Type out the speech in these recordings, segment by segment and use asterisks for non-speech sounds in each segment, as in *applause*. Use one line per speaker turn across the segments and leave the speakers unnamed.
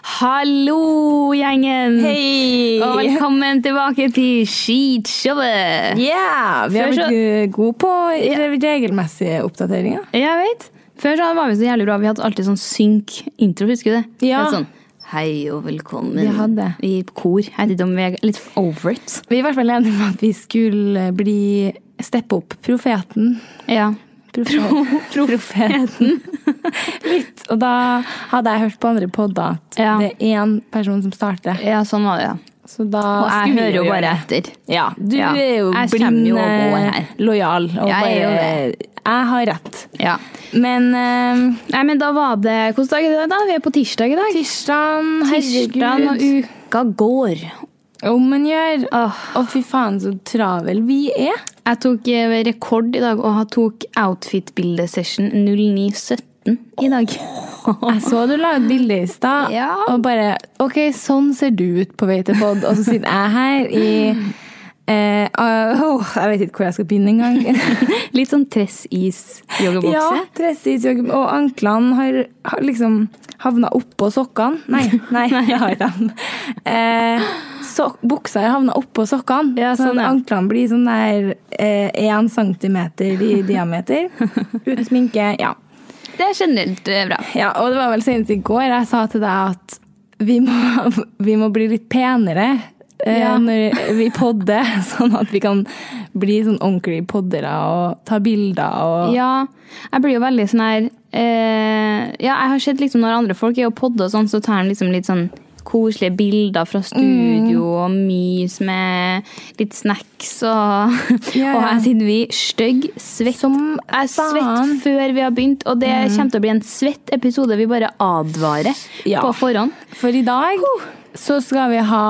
Hallo, gjengen!
Hei!
Og velkommen tilbake til Skitshowet!
Yeah, vi har
Før så-
blitt eh, gode på re- regelmessige oppdateringer.
Jeg vet. Før så var vi så jævlig bra. Vi hadde alltid sånn synk-intro, husker du det?
Ja.
Helt Sånn, Hei og velkommen.
Vi hadde.
I kor. Jeg vet ikke om vi er litt over it.
Vi er i hvert fall enige om at vi skulle bli steppe opp profeten.
Ja. *laughs*
Profet- profeten. Litt. Og da hadde jeg hørt på andre podder at
Ja.
det er én person som starter.
ja, sånn var det, ja.
Så da
Og jeg
skulle vi
hører jo
gjøre
bare
det.
etter.
Ja, du
Ja.
er jo
Jeg kommer
blind
jo og går
eh,
her.
lojal. Og
Jeg er jo
bare Jeg har rett.
Ja.
Men eh,
Nei, men da var det Hvilken dag er det da? Vi er på tirsdag i dag.
tirsdagen,
Tirsdag og
herregud.
uka går.
Om man gjør. Å,
Åh.
fy faen, så travel vi er.
Jeg tok eh, rekord i dag og har tok outfit-bildesession 0917 i dag. *laughs*
Jeg så du la ut bilde i stad,
Ja.
og bare Ok, sånn ser du ut på vei til pod, og så sitter jeg her i eh, åh, Jeg vet ikke hvor jeg skal begynne engang. *laughs*
Litt sånn tress-is-joggebukse.
ja, dressis, jogge, og anklene har, har liksom havna oppå sokkene. Nei,
*laughs*
nei, jeg har dem. Eh, sok- buksa har havna oppå sokkene,
Ja,
så
sånn, ja.
anklene blir sånn der én centimeter
*laughs*
i diameter. Uten sminke. Ja.
Det er generelt eh, bra.
Ja, og det var vel senest i går jeg sa til deg at vi må, *laughs* vi må bli litt penere eh,
Ja.
når vi *laughs* podder, sånn at vi kan bli sånn ordentlige poddere og ta bilder og
Ja, jeg blir jo veldig sånn her eh, Ja, jeg har sett liksom når andre folk er og podder og sånn, så tar de liksom litt sånn koselige bilder fra studio og mys med litt snacks og
Ja,
Og
ja.
her sitter vi stygg, svett.
Som
jeg er svett
faen.
før vi har begynt, og det kommer til å bli en svett episode. Vi bare advarer
Ja.
på forhånd.
For i dag så skal vi ha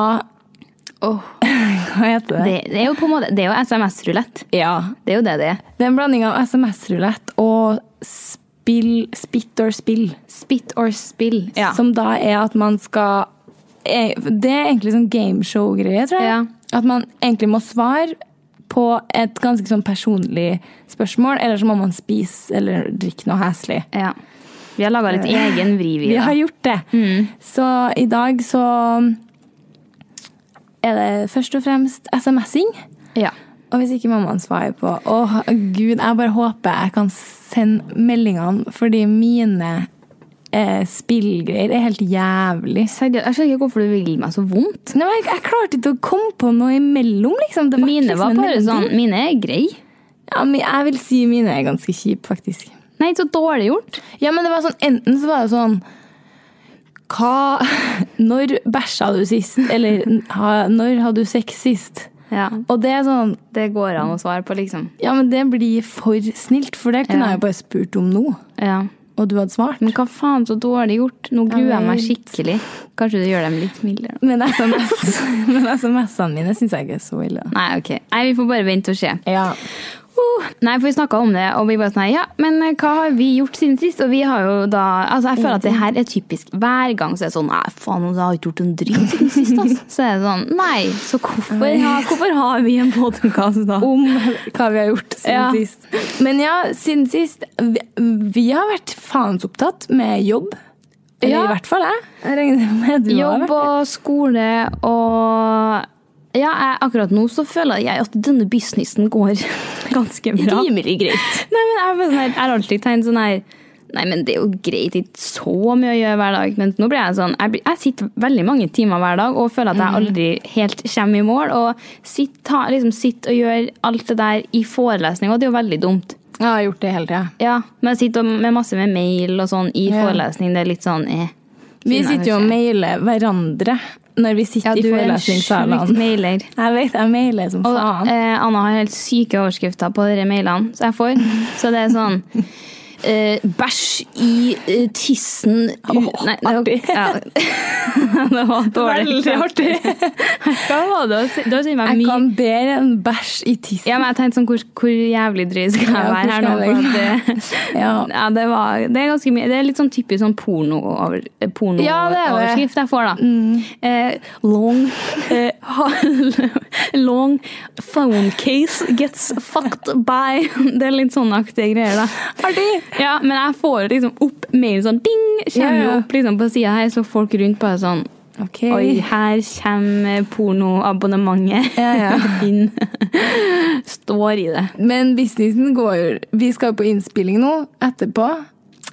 *laughs* Hva heter det?
Det, det er jo på en måte Det er jo SMS-rulett.
Ja.
Det er jo det det er.
Det er en blanding av SMS-rulett og spill, spit or spill.
Spit or spill. Ja.
Som da er at man skal eh, Det er egentlig sånn gameshow-greie, tror jeg.
Ja.
At man egentlig må svare på et ganske sånn personlig spørsmål, eller så må man spise eller drikke noe heslig.
ja. Vi har laga litt egen vri, vi.
Vi
da. Mm.
har gjort det. Så i dag så er det først og fremst SMS-ing.
Ja.
Og hvis ikke mammaen svarer på Åh, gud, jeg bare håper jeg kan sende meldingene, fordi mine eh, spillgreier er helt jævlig.
Seriøst, jeg skjønner ikke hvorfor du vil meg så vondt.
Nei, men jeg, jeg klarte ikke å komme på noe imellom, liksom. Det ble
Mine
liksom
var
en
bare
melodi.
sånn Mine er greie.
Ja, men jeg vil si mine er ganske kjipe, faktisk.
Nei, så dårlig gjort.
Ja, men det var sånn, enten så var det sånn Hva *laughs* Når bæsja du sist? Eller ha, når hadde du sex sist?
Ja.
Og det er sånn
Det går an å svare på, liksom.
Ja, men det blir for snilt, for det kunne
Ja.
jeg jo bare spurt om nå,
Ja.
og du hadde svart.
Men hva faen, så dårlig gjort. Nå gruer jeg meg
vet.
skikkelig. Kanskje du gjør dem litt mildere.
Men *laughs* SMS-ene mine syns jeg ikke er så ille.
Nei, ok. Nei, vi får bare vente og se.
Ja.
Woo! Nei, for vi snakka om det, og vi bare sånn her, Ja, men hva har vi gjort siden sist? Og vi har jo da Altså, jeg føler at det her er typisk. Hver gang så er det sånn Nei, faen, jeg har ikke gjort en dritt siden sist, *laughs* altså. Så er det sånn Nei, så hvorfor, ja, hvorfor har vi en podkast da?
om *laughs* hva vi har gjort siden
Ja.
sist. Men ja, siden sist Vi, vi har vært faensopptatt med jobb. Eller
Ja.
i hvert fall jeg. Jeg regner med du har
Jobb
vært
og skole og ja, jeg, akkurat nå så føler jeg at denne businessen går *laughs* ganske bra.
rimelig greit.
Nei, men jeg, er bare sånn her, jeg har alltid tenkt sånn her Nei, men det er jo greit, ikke så mye å gjøre hver dag. Men nå blir jeg sånn Jeg, blir, jeg sitter veldig mange timer hver dag og føler
Mhm.
at jeg aldri helt kommer i mål. Og sitter, ta, liksom, sitter og gjør alt det der i forelesning, og det er jo veldig dumt.
Jeg har gjort det hele tida.
Ja, Men jeg sitter med masse med mail og sånn i
Ja.
forelesning. Det er litt sånn eh.
Vi
Siden jeg
sitter
ikke-
jo og mailer hverandre når vi sitter
Ja,
i
du er en sjukt
forelesningssalene.
mailer.
Jeg vet, jeg mailer som
Og
faen.
eh, Anna har helt syke overskrifter på de mailene som jeg
*laughs*
får. Så det er sånn eh, Bæsj i eh, tissen u-
Åh,
Nei, det var-
artig.
Ja. *laughs* det var dårlig.
Veldig
*laughs*
artig.
Hva var det? å si- Du har sendt meg
Jeg
mye
kan bedre enn bæsj i tissen.
ja, men jeg tenkte sånn, hvor, hvor jævlig drøy skal jeg
Ja, hvor
være her nå?
skal jeg
For at
legge
det,
*laughs*
*laughs*
Ja.
ja, det, var, det er ganske mye. Det er litt sånn typisk sånn porno-overskrift
Ja, det Mm. er det.
jeg får, da. Eh, long eh, *laughs* ha- Long phone case gets fucked by Det er litt sånne aktige greier, da.
Artig!
Ja, men jeg får liksom opp mail sånn ding! Kommer
Ja, ja.
opp liksom på sida her, så folk rundt bare sånn
Ok.
Oi, her kommer pornoabonnementet
Ja,
*laughs*
ja.
inn. Står i det.
Men businessen går jo Vi skal jo på innspilling nå etterpå.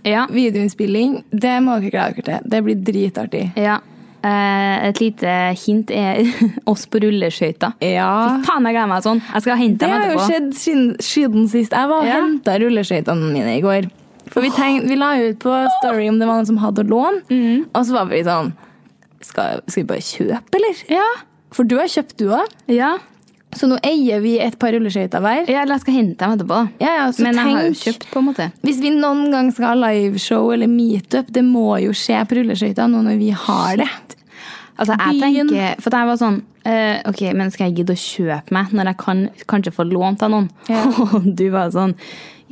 Ja.
Videoinnspilling. Det må dere glede dere til. Det blir dritartig.
ja. Eh, et lite hint er *laughs* oss på rulleskøyter.
Ja.
Faen, jeg gleder meg sånn. Jeg skal hente
Det
dem
har jo
etterpå.
skjedd siden, siden sist. Jeg var og
Ja.
hentet henta rulleskøytene mine i går. For vi, tenkte, vi la ut på Story om det var noen som hadde å låne.
Mm.
Og så var vi sånn skal, skal vi bare kjøpe, eller?
Ja.
For du har kjøpt, du òg.
Ja.
Så nå eier vi et par rulleskøyter hver.
ja, eller jeg skal hente dem etterpå. da.
Ja, ja, så
Men jeg har jo
tenk-
kjøpt, på en måte.
Hvis vi noen gang skal ha liveshow eller meetup, det må jo skje på rulleskøyter nå når vi har det.
Altså, jeg
Byen.
tenker, for jeg var sånn eh, Ok, men skal jeg gidde å kjøpe meg når jeg kan kanskje få lånt av noen? *laughs* Og du var sånn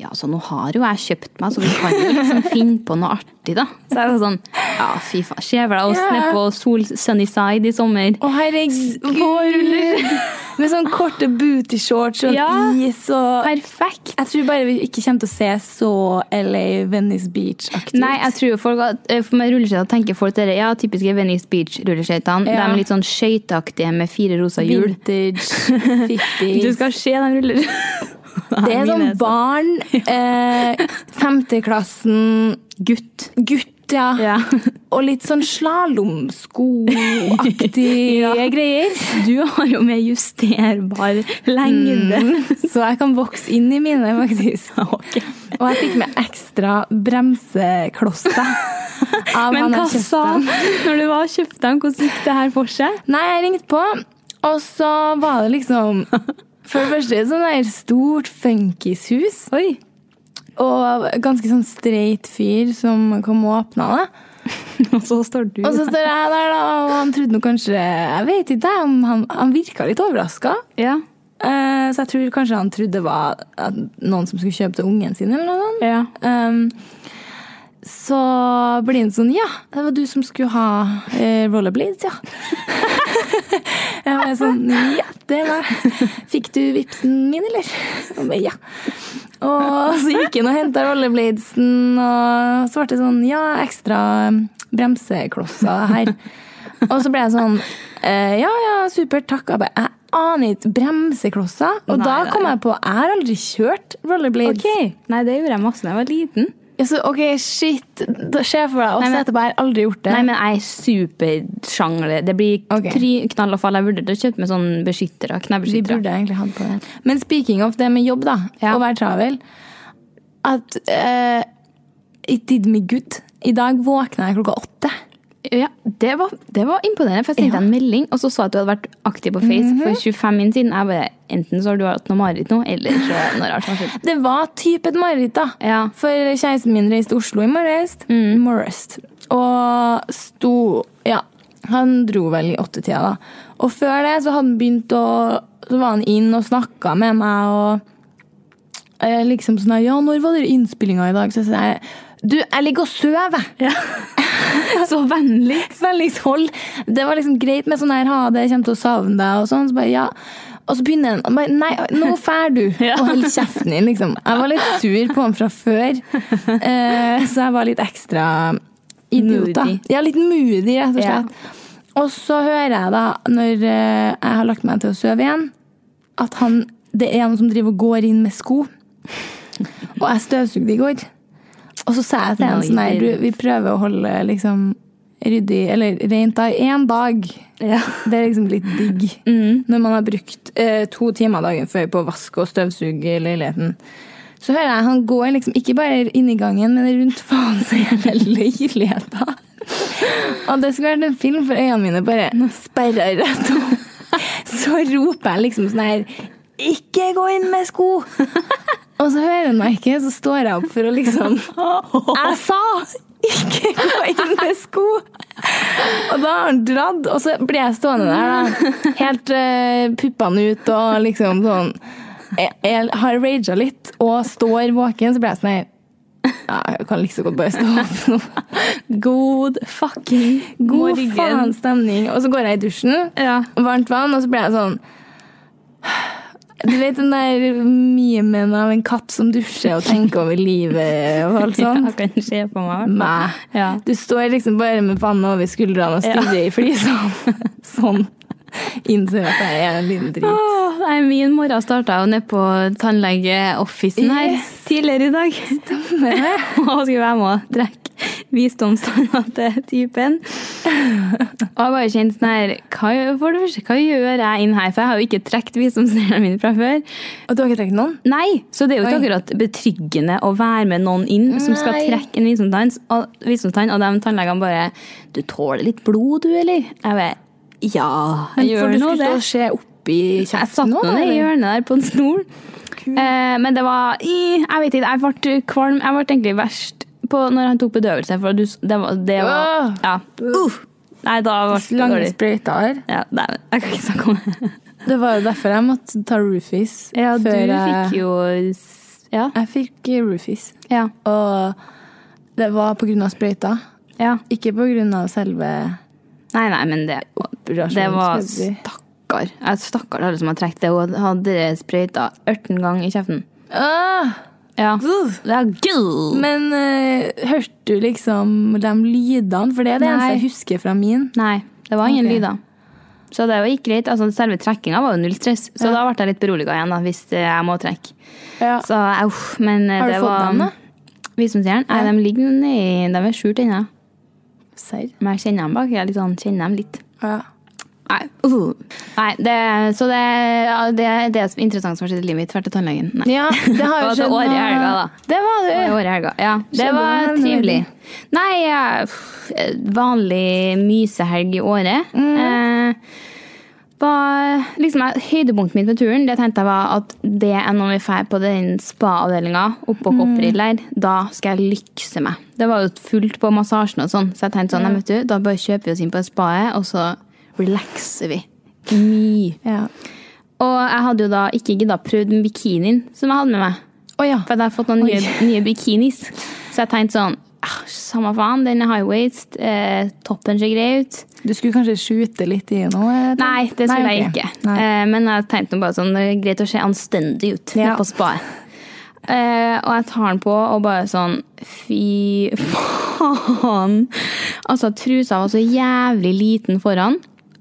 Ja, så nå har jo jeg kjøpt meg, så vi kan jo
*laughs*
liksom finne på noe artig, da. Så jeg var sånn Ja, fy faen. Skjevla oss
Ja.
ned på sol, Sunnyside i sommer.
Å, herregud! *laughs* Med sånn korte booty-shorts og
Ja.
is og
Perfekt!
Jeg tror bare vi ikke kommer til å se så LA Venice Beach-aktig
Nei, jeg tror jo folk at, eh, for med rulleskøyter tenker folk dere, ja, typiske Venice Beach-rulleskøytene.
Ja.
De er litt sånn skøyteaktige med fire rosa hjul.
Vintage, fitties
*laughs* Du skal se de *laughs* rulleskøytene.
Det er sånn
Mine- *laughs*
barn, eh, femteklassen Gutt. Gutt, ja.
Ja.
Og litt sånn slalåmskoaktige
*laughs* Ja.
greier.
Du har jo med justerbar lengde. *laughs*
Så jeg kan vokse inn i mine, faktisk. Og jeg fikk med ekstra bremseklosser. av
Men
han jeg
hva
kjøpte.
sa *laughs* når du var og kjøpte dem? Hvordan gikk det her for seg?
Nei, jeg ringte på, og så var det liksom For det første et sånn der stort funkishus,
Oi.
og ganske sånn streit fyr som kom og åpna det.
*laughs* Og så står du
Og så står jeg der, da, og han trodde nå kanskje Jeg vet ikke, jeg, om han, han virka litt overraska.
Ja.
Eh, så jeg tror kanskje han trodde det var at noen som skulle kjøpe til ungen sin, eller noe sånt.
Ja.
Ehm, så blir han sånn Ja, det var du som skulle ha eh, rollerblades, ja. *laughs* jeg var sånn Ja, det var Fikk du vipsen min, eller? Og bare, ja. Og så gikk han og henta rollerbladesen, og så ble det sånn Ja, ekstra bremseklosser her. Og så ble jeg sånn eh, Ja, ja, supert, takk. Jeg bare, jeg aner ikke. Bremseklosser? Og
Nei,
da
nei,
kom jeg på Jeg har aldri kjørt rollerblades.
Ok. Nei, det gjorde jeg masse da jeg var liten.
Ja, så, ok, shit. Da skjer for deg. Og
Nei,
så
men-
etterpå, jeg har aldri gjort det.
Nei, men jeg er supersjangler. Det blir
Ok.
kry, knall og fall. Jeg burde kjøpt meg sånn beskyttere.
Vi
Knebeskyttere.
burde egentlig hatt på det. Men speaking of det med jobb, da.
Ja.
Å være travel. At eh, it did me good. I dag våkna jeg klokka åtte.
Ja, det var, det var imponerende, for jeg sendte deg en melding og så så jeg at du hadde vært aktiv på Face for 25 min siden. Jeg bare, Enten så har du hatt noe mareritt nå, eller så er det noe rart som har skjedd.
Det var type et mareritt, da.
Ja.
For kjæresten min reiste til Oslo i morges. Morges. Og sto Ja, han dro vel i åttetida, da. Og før det så hadde han begynt å Så var han inn og snakka med meg og eh, liksom sånn her, Ja, når var det innspillinga i dag? Så sier jeg Du, jeg ligger og sover!
*laughs* Så vennlig.
*laughs* Spenningshold. liksom Det var liksom greit med sånn her ha det, jeg kommer til å savne deg og sånn. Så bare, ja. Og så begynner han og bare, Nei, nå fær du!
*laughs* Ja.
Og holder kjeften din, liksom. Jeg var litt sur på han fra
*laughs*
før, eh, så jeg var litt ekstra idiot, da.
Moody.
Ja, litt moody, rett og
Ja.
slett. Og så hører jeg, da, når eh, jeg har lagt meg til å sove igjen, at han, det er noen som driver og går inn med sko. Og jeg støvsugde i går. Og så sa jeg til henne sånn her, du, vi prøver å holde liksom ryddig, eller rent da, i én dag. Det er liksom litt digg. Når man har brukt eh, to timer dagen før på å vaske og støvsuge leiligheten. Så hører jeg han går liksom, ikke bare inn i gangen, men rundt faen seg hele *laughs* leiligheten. Og det skulle vært en film, for øynene mine bare sperra rett opp. Så roper jeg liksom sånn her Ikke gå inn med sko! Og så hører han meg ikke, så står jeg opp for å liksom Jeg sa ikke gå inn med sko! Og da har han dratt, og så blir jeg stående der, da. Helt eh, puppene ut og liksom sånn Jeg, jeg har raga litt og står våken, så blir jeg sånn her ja, Jeg kan like så godt bare stå opp nå.
God fucking
God
morgen.
faen stemning. Og så går jeg i dusjen,
Ja.
varmt vann, og så blir jeg sånn Du vet den der memen av en katt som dusjer og tenker over livet og *laughs* alt sånt?
Jeg kan se på meg. i hvert fall.
Mæ.
Ja.
Du står liksom bare med panna over skuldrene og stirrer i flisene. *laughs* Sånn. Innser at jeg er en liten drit.
Åh, nei, min morgen starta jo nede på tannlegeoffisen her
Yes.
tidligere i dag. *laughs* og skulle være med og drikke visdomstanner til typen. Og jeg bare kjente sånn her hva, gjør- For det første, hva gjør jeg inn her? For jeg har jo ikke trukket visdomstannene mine fra før.
Og du har ikke trukket noen?
Nei, så det er jo ikke
Oi.
akkurat betryggende å være med noen inn som skal
Nei.
trekke en visdomstann, og, visdomstann, og de tannlegene bare 'Du tåler litt blod, du, eller?' Jeg bare Ja, jeg
for
gjør
du
nå
skulle
det.
stå og se oppi
Jeg satt
kjeften
nå
nå?
nede i
eller?
hjørnet der på en stol. Eh, men det var i, Jeg vet ikke, jeg ble kvalm. Jeg ble egentlig verst på når han tok bedøvelse. For du, s- det var, det var ja. Uff. Nei, da ble det
Lange
dårlig.
sprøyter.
Ja, nei, jeg kan ikke snakke om det.
Det var jo derfor jeg måtte ta roofies.
*laughs* Ja, du
før jeg-
fikk jo s- Ja.
Jeg fikk roofies.
eh, Ja.
Og det var på grunn av sprøyta.
ja.
Ikke på grunn av selve
Nei, nei, men det Det var
skulle jeg si.
stakkar. Jeg stakkar alle som har trukket det. Hun hadde sprøyta 18 ganger i kjeften.
Ah,
Ja.
Uff.
Det er gull.
Men eh, hørte du liksom de lydene? For det er det
Nei.
eneste jeg husker fra min.
Nei, det var ingen
Ok.
lyder. Så det var- gikk greit. Altså, selve trekkinga var jo null stress, så da ble jeg litt beroliga igjen da, hvis eh, jeg må trekke. Så, au, men eh,
Har du
det
fått
var,
dem, da?
Visdomstjernen? Nei, de ligger jo nedi De er skjult ennå.
Serr.
Men jeg kjenner dem bak. Jeg er litt sånn, kjenner dem litt.
Ja.
Nei, uh. Nei det, så det, ja, det er det som er interessant som har skjedd i livet mitt. Vært til tannlegen. Nei.
ja, det har jo
Og til
skjedd
året i
noe-
helga, da.
Det var
Det
det.
var i helga. Ja, det
Skjedde
var
det,
trivelig. Nei, jeg- pff, vanlig mysehelg i året. Eh, var, liksom, jeg- høydepunktet mitt på turen det tenkte jeg var at det er når vi drar på den spa-avdelinga oppe på Kopperil der, da skal jeg lykse meg. Det var jo fullt på massasjen og sånn, så jeg tenkte sånn, nei, vet du, da bare kjøper vi oss inn på spaet, og så relaxer vi. Gni.
Ja.
Og jeg hadde jo da ikke gidda prøvd den bikinien som jeg hadde med meg.
Å ja.
For jeg har fått noen nye, nye bikinis. Så jeg tenkte sånn ah, Samme faen, den er high waist. Eh, toppen ser grei ut.
Du skulle kanskje skjute litt i noe? eller?
Nei, det skulle jeg
ok.
ikke.
Nei.
Eh, men jeg tenkte nå bare sånn, det er greit å se anstendig ut
Ja.
på spaet. Eh, og jeg tar den på og bare sånn Fy faen! Altså, trusa var så jævlig liten foran.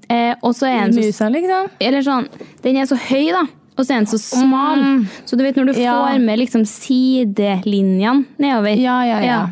Eh, og så er den så
Musa, liksom?
eller sånn, den er så høy da, og så er den så smal. Så du vet når du
Mm. Ja.
får med liksom sidelinjene nedover.
Ja, ja, ja.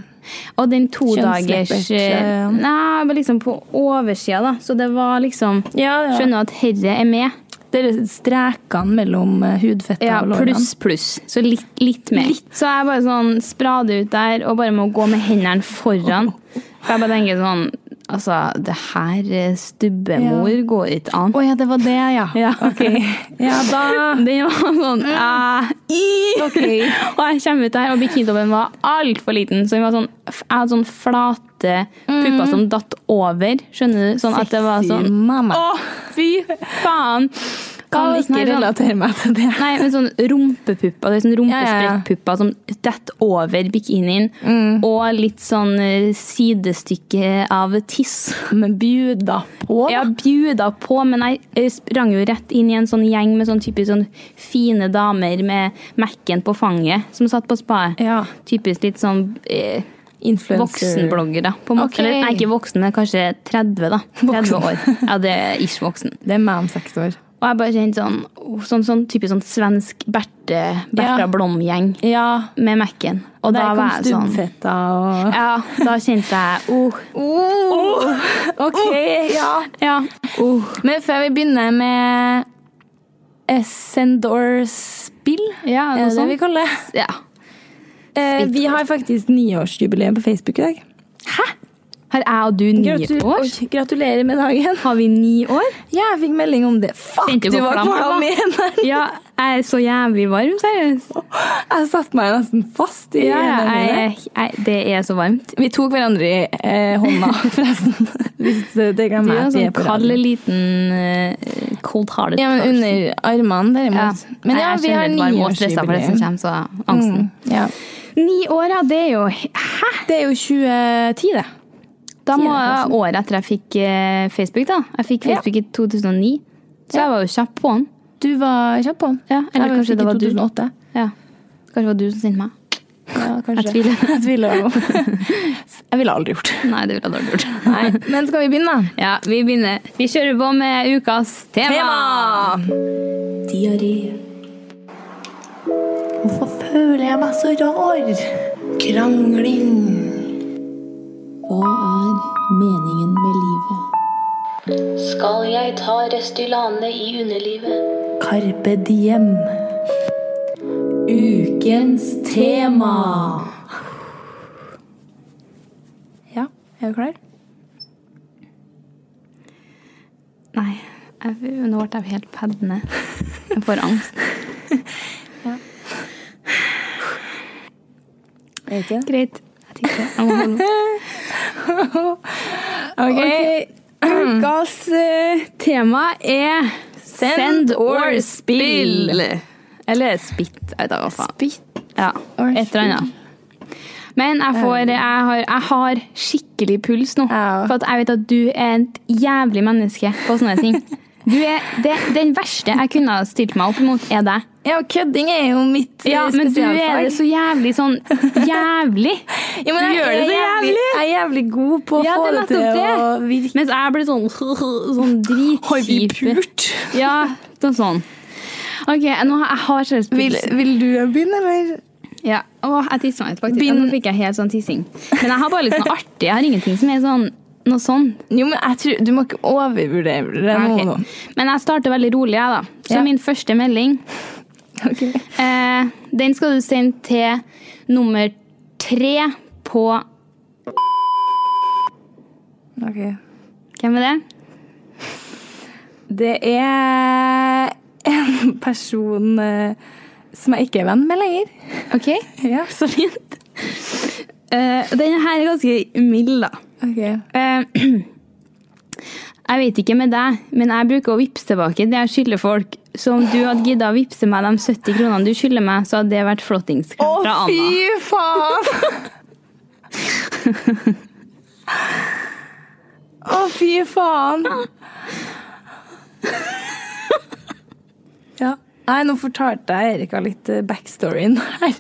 Og den to dagers...
Kjønnsleppert, ja.
Nei, men liksom på oversiden da. Så det var liksom...
Ja, ja.
Skjønner at herre er med.
Det er strekene mellom eh, hudfettet
Ja,
og lårene.
pluss, pluss. Så litt, litt mer. Så jeg bare sånn sprader ut der og bare må gå med hendene foran. For jeg bare tenker sånn Altså, det her eh, stubbemor går ikke an.
Å ja, det var det, ja.
Ja.
Ok.
*laughs*
Ja, da
Den var sånn eh, i.
Ok.
Og jeg kommer ut der, og bikinitoppen var altfor liten. Så den var sånn, f- jeg hadde sånn flate pupper
Mm.
som
Sånn
datt over. Skjønner du? Sånn at det var sånn
Mamma.
Å, fy faen!
kan
litt
ikke
sånn her, sånn-
relatere meg til det.
Nei, men sånn rumpepupper. Det er sånn
Ja, ja, ja.
Rumpesprekkpupper som detter over bikinien.
Mm.
Og litt sånn eh, sidestykke av tiss.
Men bjuda på,
Jeg
da.
har bjuda på, men jeg eh, sprang jo rett inn i en sånn gjeng med sånn typisk sånn fine damer med Mac-en på fanget, som satt på spaet.
Ja.
Typisk litt sånn eh,
Influencer.
voksenblogger, da. På en måte.
Ok.
Eller nei, ikke voksen, men kanskje 30, da. 30 år. Ja, det er ish voksen.
Det er meg om seks år.
Og jeg bare kjente sånn, sånn, sånn typisk sånn svensk Berthe, Bertha
Ja.
Blom-gjeng
Ja.
med Mac-en. Og da
Der kom
var jeg sånn
stubbfetta og
Ja, da kjente jeg oh,
OK, ja.
ja, oh.
Men før vi begynner med Sendor-spill,
Ja,
er
noe
det det
sånt.
vi kaller det?
ja.
Eh, vi har faktisk niårsjubileum på Facebook i dag.
Har jeg og du ni
Gratu-
år?
Oi, gratulerer med dagen.
Har vi ni år?
Ja, jeg fikk melding om det. Fuck,
Kjente
du
du på
var
klam,
klam
da?
igjen!
Ja, jeg er så jævlig varm, seriøst.
Jeg satte meg nesten fast i
Ja,
hendene
jeg,
mine.
jeg, jeg, det er så varmt.
Vi tok hverandre i eh, hånda,
*laughs*
forresten. Hvis eh, det
Du er
glemmer jeg
en
at vi er
sånn
på
kald
radio.
liten eh, cold-hearted
Ja, men under armene, derimot.
Ja.
Men ja,
Jeg er
vi har
generelt varm og stressa for det som kommer,
niårsjubileum.
så angsten.
Ja.
Ni år, Mm. ja, det er jo Hæ?
Det er jo 2010, det.
Da må
Tiendeklassen.
året etter jeg fikk eh, Facebook, da. Jeg fikk
Ja.
Facebook i 2009, så jeg var jo kjapp på den.
Du var kjapp på den.
Ja, eller
Jeg
kanskje
fikk
det
i
var du.
2008.
Ja. Kanskje det var du som sendte meg?
Ja, kanskje.
Jeg tviler. *laughs*
Jeg tviler også. Jeg ville aldri gjort det.
Nei, det ville jeg dårlig gjort.
Nei, Men skal vi begynne, da?
Ja, vi begynner. Vi kjører på med ukas tema.
Diaré. Hvorfor føler jeg meg så rar? Krangling. Hva er meningen med livet?
Skal jeg ta Restylane i underlivet?
Carpe diem. Ukens tema. Ja, er du klar?
Nei, jeg, nå ble jeg helt paddende. Jeg får angst.
Jeg vet ikke.
Greit. Jeg tenker, jeg må holde.
Ok.
Ukas eh, tema Eh, er Send,
or spill.
Eller spitt. Jeg vet ikke hva faen.
Spitt.
Ja,
Or
et eller annet. Men jeg, får, jeg, har, jeg har skikkelig puls nå.
Ja.
For at jeg vet at du er et jævlig menneske på sånne ting. Du er det, Den verste jeg kunne ha stilt meg opp mot, er deg.
Ja, kødding er jo mitt
Ja,
eh,
men du er
spesialfag.
det så jævlig sånn Jævlig!
Ja, men
du
jeg
gjør det
er
så jævlig!
Jeg er jævlig god på å
Ja, det
få
er
det til
nettopp
å
det.
virke.
Mens jeg blir sånn *laughs* sånn dritkjip. Ja, noe sånn. Ok, nå har jeg har seriøst
Vil,
puls.
vil du begynne, eller?
Ja. Åh, jeg tisser meg ut, faktisk. Ja,
Begynn-
nå fikk jeg helt sånn tissing. Men jeg har bare litt sånn artig. Jeg har ingenting som er sånn noe sånn.
Jo, men jeg tror, Du må ikke overvurdere det
Ja, ok.
nå.
Men jeg starter veldig rolig, jeg, da. Så
Ja.
min første melding,
Okay.
eh, den skal du sende til nummer tre på Hvem er det?
Det er en person eh, som jeg ikke er venn med lenger.
*laughs* OK,
Ja.
så fint. Eh, og denne her er ganske mild, da. Eh, *clears throat* Jeg vet ikke med deg, men jeg bruker å vippse tilbake det jeg skylder folk. Så om du hadde giddet å vippse meg de 70 kronene du skylder meg, så hadde det vært flottings
Å,
fra Anna.
fy faen! Å, fy faen! Ja. Nei, nå fortalte jeg Erika litt eh, backstoryen her.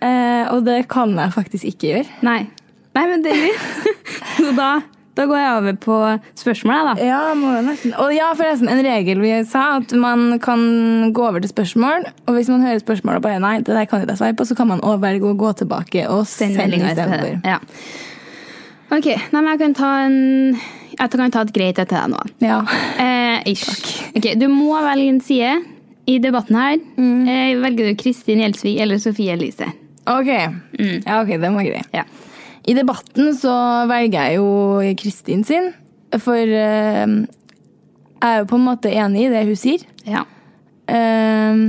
Eh, og det kan jeg faktisk ikke gjøre.
Nei. Nei, men det er greit. *laughs* Så da, da går jeg over på spørsmålet, da.
Ja, må jeg nesten. Og ja, forresten, en regel vi sa, at man kan gå over til spørsmål. Og hvis man hører spørsmål og bare nei, det der kan ikke jeg svare på, så kan man også velge å gå tilbake og
Den
sende
meldingen i
istedenfor.
stedet. Ja. Ok, nei, men jeg kan ta en Jeg kan ta et greit et til deg nå.
Ja.
Eh, ish. Ok, du må velge en side i debatten her.
Mm.
Eh, velger du Kristin Gjelsvik eller Sofie Elise? Mm.
Ok. Ja, ok, den var grei.
Ja.
I debatten så velger jeg jo Kristin sin, for eh, jeg er jo på en måte enig i det hun sier.
ja.
Eh,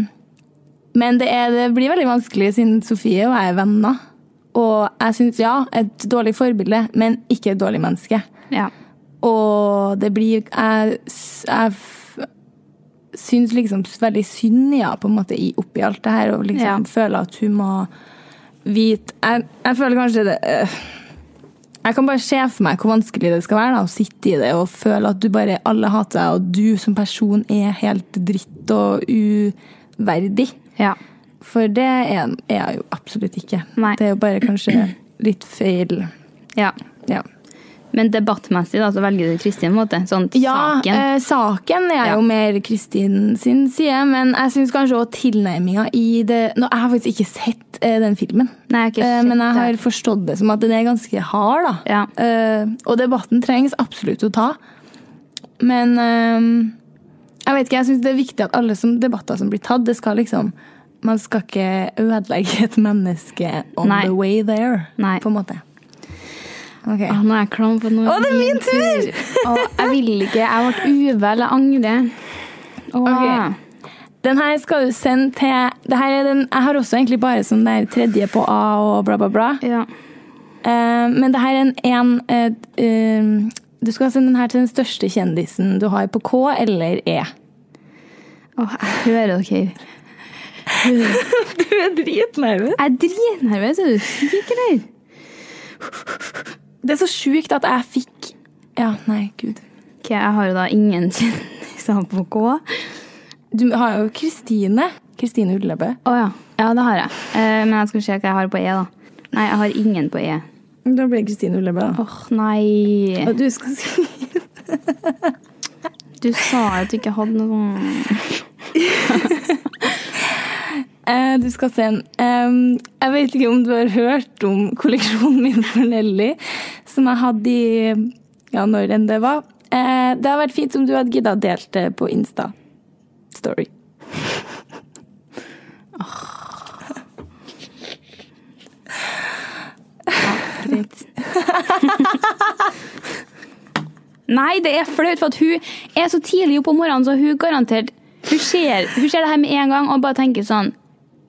men det, er, det blir veldig vanskelig siden Sofie og jeg er venner. Og jeg syns ja, et dårlig forbilde, men ikke et dårlig menneske.
ja.
Og det blir jeg, jeg f- syns liksom veldig synd i henne på en måte i- oppi alt det her, og liksom
Ja.
føler at hun må vite Jeg, jeg føler kanskje det øh, Jeg kan bare se for meg hvor vanskelig det skal være da, å sitte i det og føle at du bare alle hater deg, og du som person er helt dritt og uverdig.
Ja.
For det er er jeg jo absolutt ikke.
Nei.
Det er jo bare kanskje litt feil
ja.
Ja.
Men debattmessig da, så velger du Kristin, på en måte. Sånn
Ja,
saken.
Eh, saken er
Ja.
jo mer Kristin sin side, men jeg syns kanskje òg tilnærminga i det Nå, Jeg har faktisk ikke sett eh, den filmen,
Nei, jeg har ikke
Eh,
sett
men jeg har
det.
forstått det som at den er ganske hard, da.
Ja.
Eh, og debatten trengs absolutt å ta. Men eh, jeg vet ikke, jeg syns det er viktig at alle som, debatter som blir tatt, det skal liksom Man skal ikke ødelegge et menneske on
Nei.
the way there,
Nei. Ah,
på en måte. Ok.
Åh, nå er jeg klam for nå.
Å, det er min tur! *laughs*
Åh, jeg vil ikke. Jeg ble uvel. Jeg angrer. Åh.
Ok. Den her skal du sende til det her er den, Jeg har også egentlig bare som det er tredje på A og bla, bla, bla.
Ja.
Eh, men det her er en, en eh, eh, Du skal sende den her til den største kjendisen du har på K eller E.
Åh, jeg hører dere.
*laughs* Du er dritnervøs.
Jeg er dritnervøs. Er du syk, eller?
Det er så sjukt at jeg fikk Ja, nei, gud.
Ok, jeg har jo da ingen *laughs* kjendiser på K. Å
Du har jo Kristine. Kristine Ullebø.
ja. Ja, det har jeg. Eh, men jeg skal se hva jeg har på E, da. Nei, jeg har ingen på E.
Da blir det Kristine Ullebø, da.
Åh, nei.
Og du skal si
Du sa jo at du ikke hadde noe sånn
Eh, du skal se en Ehm, Jeg vet ikke om du har hørt om kolleksjonen min for Nelly, som jeg hadde i Ja, når enn det var. Eh, det hadde vært fint om du hadde gidda å delt det på Insta. Story.
Greit. Nei, det er flaut, for at hun er så tidlig oppe om morgenen, så hun garantert Hun ser, hun ser det her med en gang og bare tenker sånn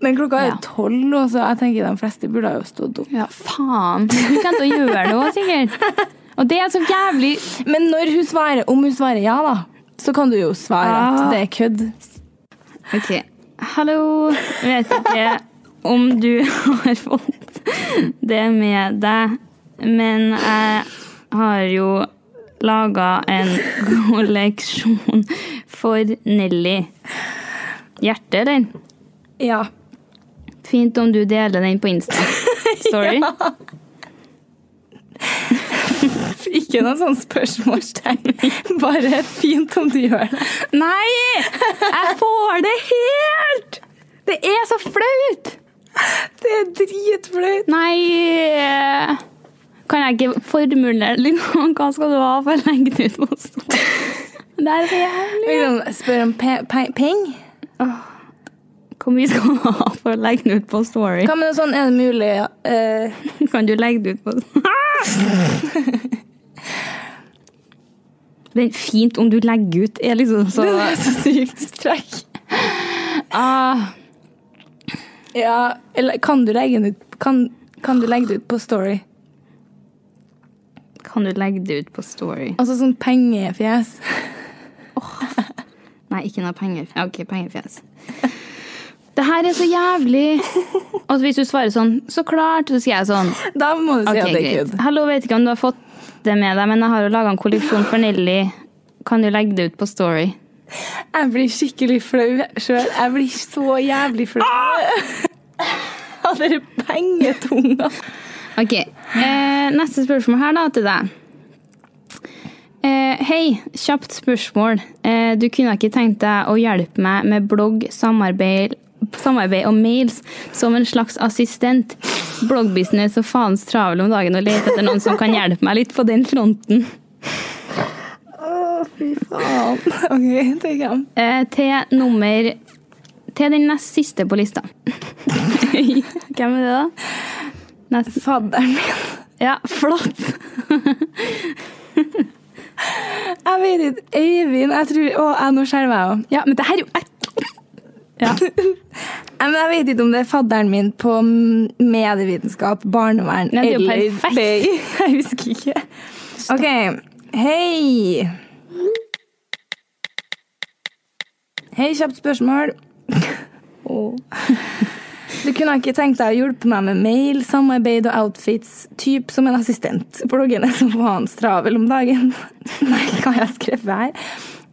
Men klokka er
Ja.
tolv, og så jeg tenker de fleste burde ha jo stått opp.
Ja, faen. Hun kommer til å gjøre det òg, sikkert. Og det er så jævlig
Men når hun svarer, om hun svarer ja, da, så kan du jo svare
Ah.
at det er kødd.
Ok. Hallo. Vet ikke om du *laughs* har fått det med deg, men jeg har jo laga en kolleksjon for Nelly. Hjerte, den.
Ja.
Fint om du deler den på Insta.
*laughs*
Sorry.
Ikke noe sånn spørsmålstegn. Bare fint om du gjør det.
Nei! Jeg får det helt! Det er så flaut!
Det er dritflaut.
Nei eh, Kan jeg ikke formulere litt om hva skal du ha for å legge det ut på
*laughs*
stolen? Det er så jævlig.
Liksom, spør om pe pe peng.
Hvor mye skal du ha for å legge det ut på story?
Hva med noe sånn, er det mulig eh,
Kan du legge det ut på *laughs* Det er fint om du legger ut, er liksom så
*laughs* Det er så sykt strekk.
ah,
Ja, eller kan du legge den ut kan, kan du legge det ut på story?
Kan du legge det ut på story?
Altså sånn pengefjes.
Nei, ikke noe penger. Ja, Ok, pengefjes. Det her er så jævlig. Og hvis du svarer sånn, så klart, så sier jeg sånn
*laughs* Da må du si
Ok,
at det er
greit.
kødd.
Hallo, vet ikke om du har fått det med deg, men jeg har jo laga en kolleksjon for Nelly. Kan du legge det ut på Story?
Jeg blir skikkelig flau sjøl. Jeg blir så jævlig flau. *laughs* Av dere pengetunga.
Ok, eh, Neste spørsmål her da til deg. Eh, hei, kjapt spørsmål. Eh, du kunne ikke tenkt deg å hjelpe meg med blogg, samarbeid, samarbeid og mails som en slags assistent? Bloggbusiness og faens travel om dagen og lete etter noen som kan hjelpe meg litt på den fronten.
Faen. OK, tenker jeg.
Eh, til nummer Til den nest siste på lista. *laughs* Hvem er det, da? Nest
Fadderen min.
Ja, flott!
Jeg vet ikke. Øyvind, jeg tror Å, jeg, nå skjelver jeg òg.
Ja, men det her er jo ek- ja.
Nei, men Jeg vet ikke om det er fadderen min på m- medievitenskap, barnevern
Nei, det er jo
eller
perfekt.
BI. *laughs* Jeg husker ikke. OK. Hei. Hei, kjapt spørsmål. Du kunne ikke tenkt deg å hjelpe meg med mail, samarbeid og outfits, typ som en assistent. Bloggen er så faen travel om dagen. *laughs* Nei, hva har jeg skrevet her?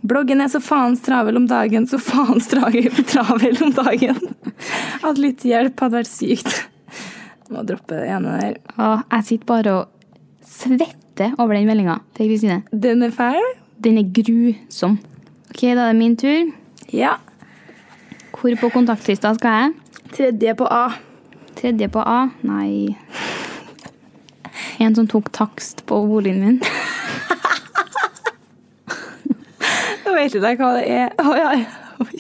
Bloggen er så faen travel om dagen, så faen travel travel om dagen. At litt hjelp hadde vært sykt. Må droppe det ene der.
Ja, jeg sitter bare og svetter over den meldinga til Kristine.
Den er fæl.
Den er grusom. Ok, da er det min tur.
Ja.
Hvor på kontaktlista skal jeg?
Tredje på A.
Tredje på A? Nei. En som tok takst på boligen min. *laughs*
Jeg vet ikke hva det er. Å, ja, ja. Oi.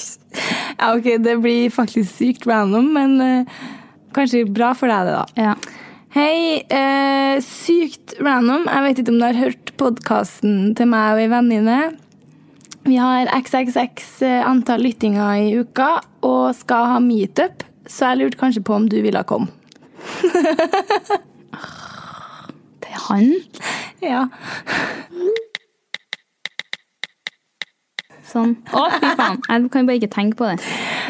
ja, ok, det blir faktisk sykt random, men eh, kanskje bra for deg, det, da.
Ja.
Hei, eh, sykt random. Jeg vet ikke om du har hørt podkasten til meg og ei venninne. Vi har xxx eh, antall lyttinger i uka og skal ha meetup, så jeg lurte kanskje på om du ville komme.
Det er han.
Ja.
Sånn. Å, fy faen. Jeg kan bare ikke tenke på det.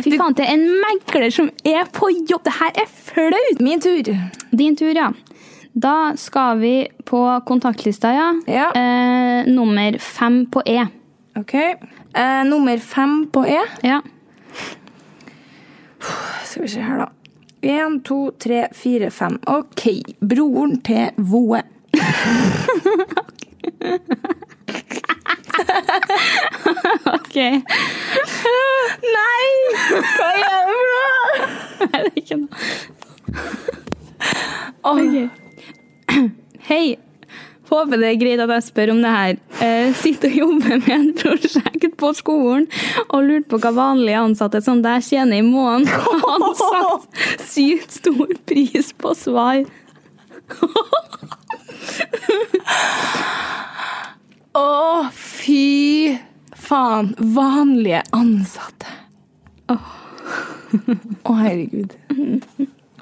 Fy faen, det er en megler som er på jobb! Det her er flaut!
Min tur.
Din tur, ja. Da skal vi på kontaktlista, ja.
Ja.
Eh, nummer fem på E.
Ok. Eh, nummer fem på E.
Ja.
Skal vi se her, da. Én, to, tre, fire, fem. OK. Broren til Voe.
Ok. Nei! Hva gjør du for noe? *laughs* Nei, det er ikke noe. *clears throat* Hei. Håper det er greit at jeg spør om det her. Eh, sitter og jobber med et *laughs* prosjekt på skolen og lurte på hva vanlige ansatte som deg tjener i måneden. *laughs* Han satte sykt stor pris på svar.
Å, fy faen. Vanlige ansatte. Å, herregud.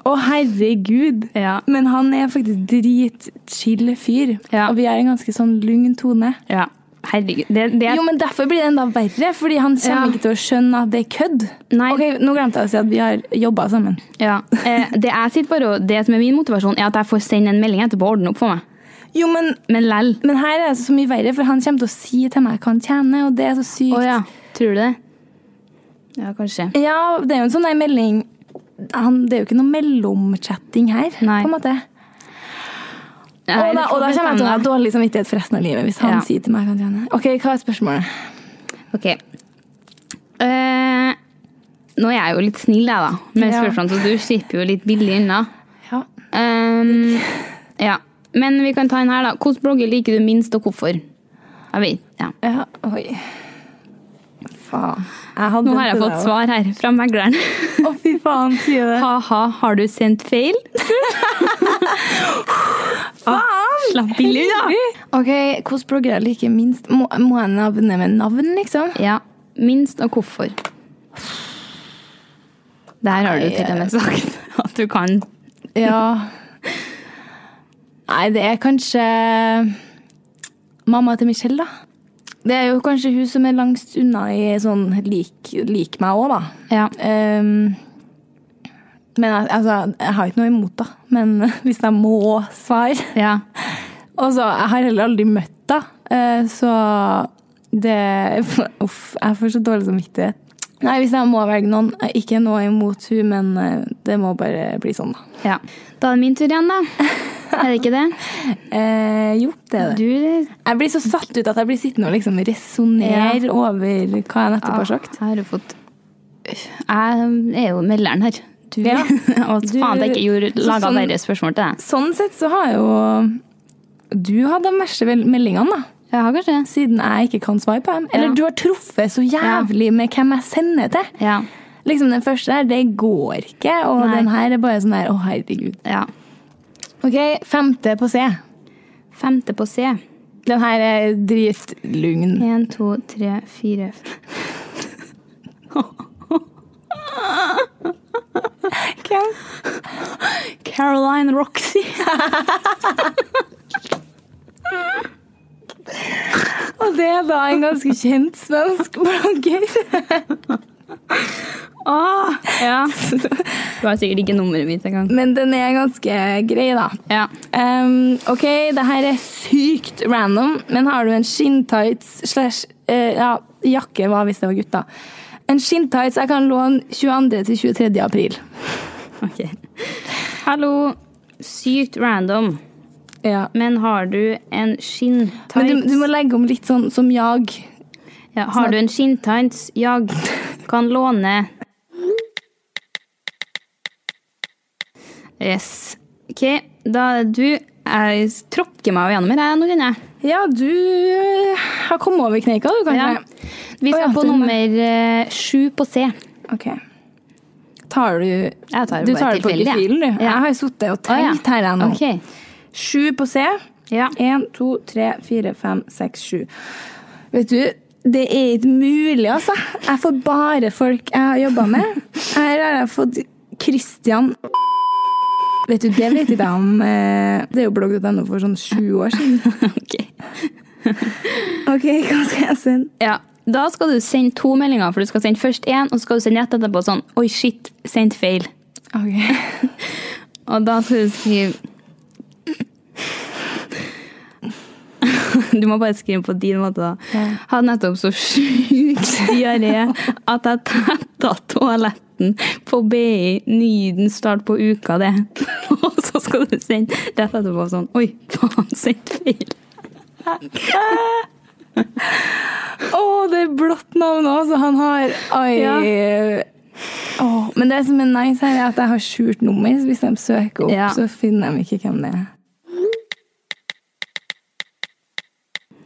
Å, herregud.
Ja.
Men han er faktisk dritchill fyr.
Ja.
Og vi er i en ganske sånn lugn tone.
Ja. Herregud. Det, det er
Jo, men Derfor blir det enda verre, fordi han kommer
Ja.
ikke til å skjønne at det er kødd.
Nei.
Ok, Nå glemte jeg å si at vi har jobba sammen.
Ja. Eh, det, jeg sitter bare, og- det som er min motivasjon, er at jeg får sende en melding etterpå og ordne opp for meg.
Jo, men
Men lell.
Men her er det altså så mye verre, for han kommer til å si til meg hva han tjener, og det er så sykt.
Å ja. Tror du det? Ja, kanskje.
Ja, det er jo en sånn der melding han, Det er jo ikke noe mellomchatting her,
Nei.
på en måte.
Nei,
og
du får
da, og da kommer jeg til å ha
bestemme deg.
dårlig samvittighet for resten av livet hvis han
Ja.
sier til meg hva han tjener. Ok, hva er spørsmålet?
Ok. Eh, nå er jeg jo litt snill, jeg, da, med
Ja.
spørsmålene, så du slipper jo litt billig unna.
Ja.
Ehm, ja. Men vi kan ta en her, da. Hvilken blogger liker du minst, og hvorfor? Jeg vet, ja.
ja. Oi. Faen. Jeg hadde
Nå
den
har jeg
til
fått
deg også.
svar her fra megleren. *laughs*
Å, fy faen, sier det.
Ha-ha, har du sendt feil? *laughs*
Faen!
Slapp billig unna!
Ah, Ok, Hvilke bloggere liker minst? Må, må jeg navne med navn, liksom?
Ja, minst og hvorfor. Der har du til og med sagt at du kan.
Ja. Nei, det er kanskje mamma til Michelle, da. Det er jo kanskje hun som er langst unna i sånn lik, lik meg òg, da.
Ja.
Ehm, men al- altså, jeg har ikke noe imot da. Men *laughs* hvis jeg må svare
ja.
Og så, jeg har heller aldri møtt da. eh, Så det Uff, jeg får så dårlig samvittighet. Nei, hvis jeg må velge noen Ikke noe imot hun, men eh, det må bare bli sånn, da.
ja. Da er det min tur igjen, da. Er det ikke det?
*laughs* Eh, jo, det er det.
Du
Jeg blir så satt ut at jeg blir sittende og liksom resonnere over hva jeg nettopp har sagt.
Jeg Ah, har jo fått Jeg er jo melderen her. Du,
Ja.
*laughs* og
Du-
faen at jeg ikke gjorde laga
Sånn-
verre spørsmål til deg.
Sånn sett så har jo du hatt de verste vel- meldingene, da.
Jeg har kanskje det.
Siden jeg ikke kan svare på dem. Eller
Ja.
du har truffet så jævlig med hvem jeg sender til.
Ja.
Liksom Den første der, det går ikke. Og
Nei.
den her er bare sånn der, å herregud.
ja.
Ok, femte på C.
Femte på C.
Den her er dritlugn.
Én, to, tre, fire
Hvem?
Caroline Roxy.
*laughs* Og det er da en ganske kjent svensk blogger. Åh,
Ja. *laughs* Du har sikkert ikke nummeret mitt engang.
men den er ganske grei, da.
Ja.
Ehm, ok, det her er sykt random, men har du en skinntights slash eh, ja, jakke, hva hvis det var gutta? En skinntights jeg kan låne 22. til 23. april.
Ok. Hallo. Sykt random.
Ja.
Men har du en
Men
skinntights
du, du må legge om litt sånn som jag.
ja, Har du en skinntights jag kan låne Yes. OK, da er du Jeg tråkker meg gjennom her, jeg, nå kjenner jeg.
Ja, du eh, har kommet over kneika, du,
Ja.
kanskje?
Vi
Å,
skal
ja,
på
den er-
nummer eh, sju på C.
Ok. Tar du
Jeg tar det
Du
bare
tar det på
tilfeldig, jeg.
gefühlen, du.
Ja.
Jeg har sittet og
Å, ja.
telt her jeg nå.
Ok.
Sju på C.
Ja.
Én, to, tre, fire, fem, seks, sju. Vet du, det er ikke mulig, altså. Jeg får bare folk jeg har jobba med. Her har jeg fått Christian Vet du, det vet ikke jeg om eh, Det er jo blogg.no for sånn sju år siden.
*laughs* Ok.
Ok, hva skal jeg sende?
Ja, da skal du sende to meldinger, for du skal sende først én, og så skal du sende rett etterpå sånn Oi, shit, sendt feil.
Ok.
*laughs* Og da skal du skrive *laughs* Du må bare skrive på din måte, da.
Ja.
Hadde nettopp så sjuk diaré at jeg tetta toaletten på BI Nyden start på uka, det. *laughs* Og så skal du sende rett etterpå sånn Oi, faen, sendt feil.
Å, det er blått navn også, så han har Oi. Åh, men det som er nice her, er at jeg har skjult nummer. Så hvis de søker opp,
Ja.
så finner de ikke hvem det er.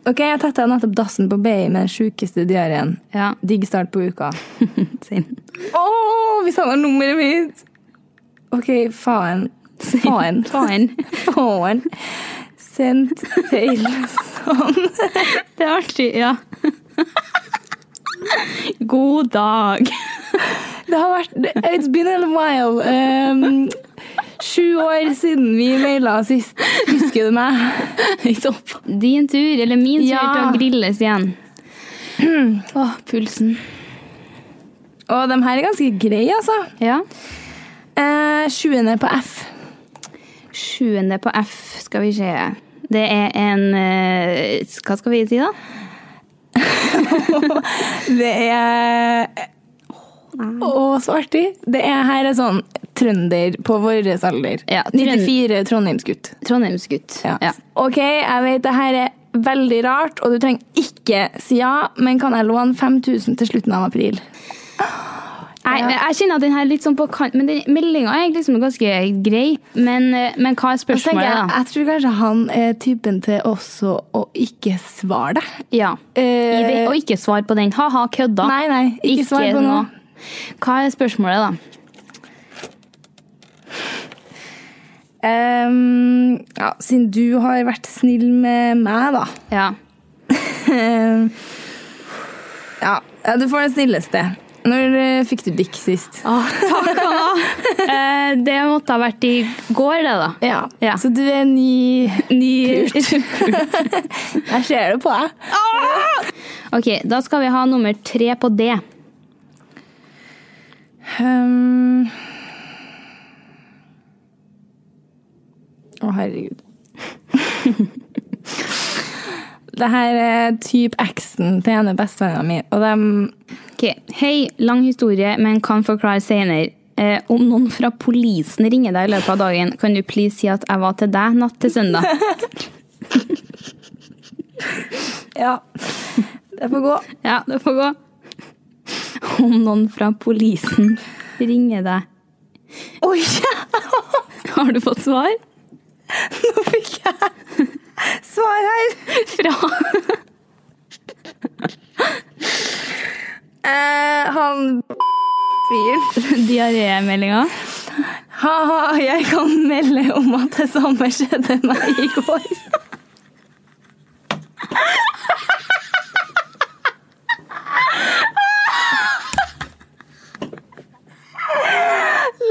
Ok, jeg tetta nettopp dassen på BI med den sjukeste diareen.
Ja.
Digg start på uka.
*laughs* Send.
Åh, hvis han har nummeret mitt! Ok, faen. Faen.
Faen.
Faen. Sendt til sånn.
Det er artig,
*laughs*
ja. God dag.
Det har vært It's been a while. Um, sju år siden vi maila sist. Husker du
*laughs*
meg?
Din tur, eller min tur,
Ja.
til å grilles igjen. *clears throat* Åh, pulsen.
Og de her er ganske greie, altså.
Ja.
Eh, sjuende på F.
Sjuende på F, skal vi se. Det er en eh, Hva skal vi si, da?
Det er
eh,
Å, så artig! Det er her er sånn trønder på vår alder.
Ja, trønd-
94 trondheimsgutt.
Trondheimsgutt.
Ja.
Ja.
Ok, jeg vet det her er veldig rart, og du trenger ikke si ja, men kan jeg låne 5000 til slutten av april?
Jeg, jeg kjenner at den her er litt sånn på kant, men den meldinga er liksom ganske grei. Men, eh, men hva er
Og så tenker jeg,
spørsmålet, da?
jeg tror kanskje han er typen til også å ikke svare deg.
Ja. I det, og ikke svar på den. Ha-ha, kødda.
eh, Nei, nei, ikke, svar på noe.
Hva er spørsmålet, da?
Ehm, ja, siden du har vært snill med meg, da.
Ja.
Ehm, ja, ja, du får den snilleste. Når eh, fikk du dick sist?
Ah, Eh, det måtte ha vært i går, det, da.
Ja.
Ja.
Så du er ny, *laughs* ny Jeg ser det på deg.
*laughs* Ok, da skal vi ha nummer tre på D.
Ehm. Å, herregud. *laughs* det her er typ eksen til en av bestevenninna mi, og dem
Ok, Hei, lang historie, men kan forklare senere. Eh, om noen fra polisen ringer deg i løpet av dagen, kan du please si at jeg var til deg natt til søndag?
Ja. Det får gå.
Ja, det får gå. Om noen fra polisen ringer deg.
Oi!
Har du fått svar?
Nå fikk jeg svar her.
Fra
Eh, han fyren.
diarémeldinga?
Ha-ha, jeg kan melde om at det samme skjedde meg i går.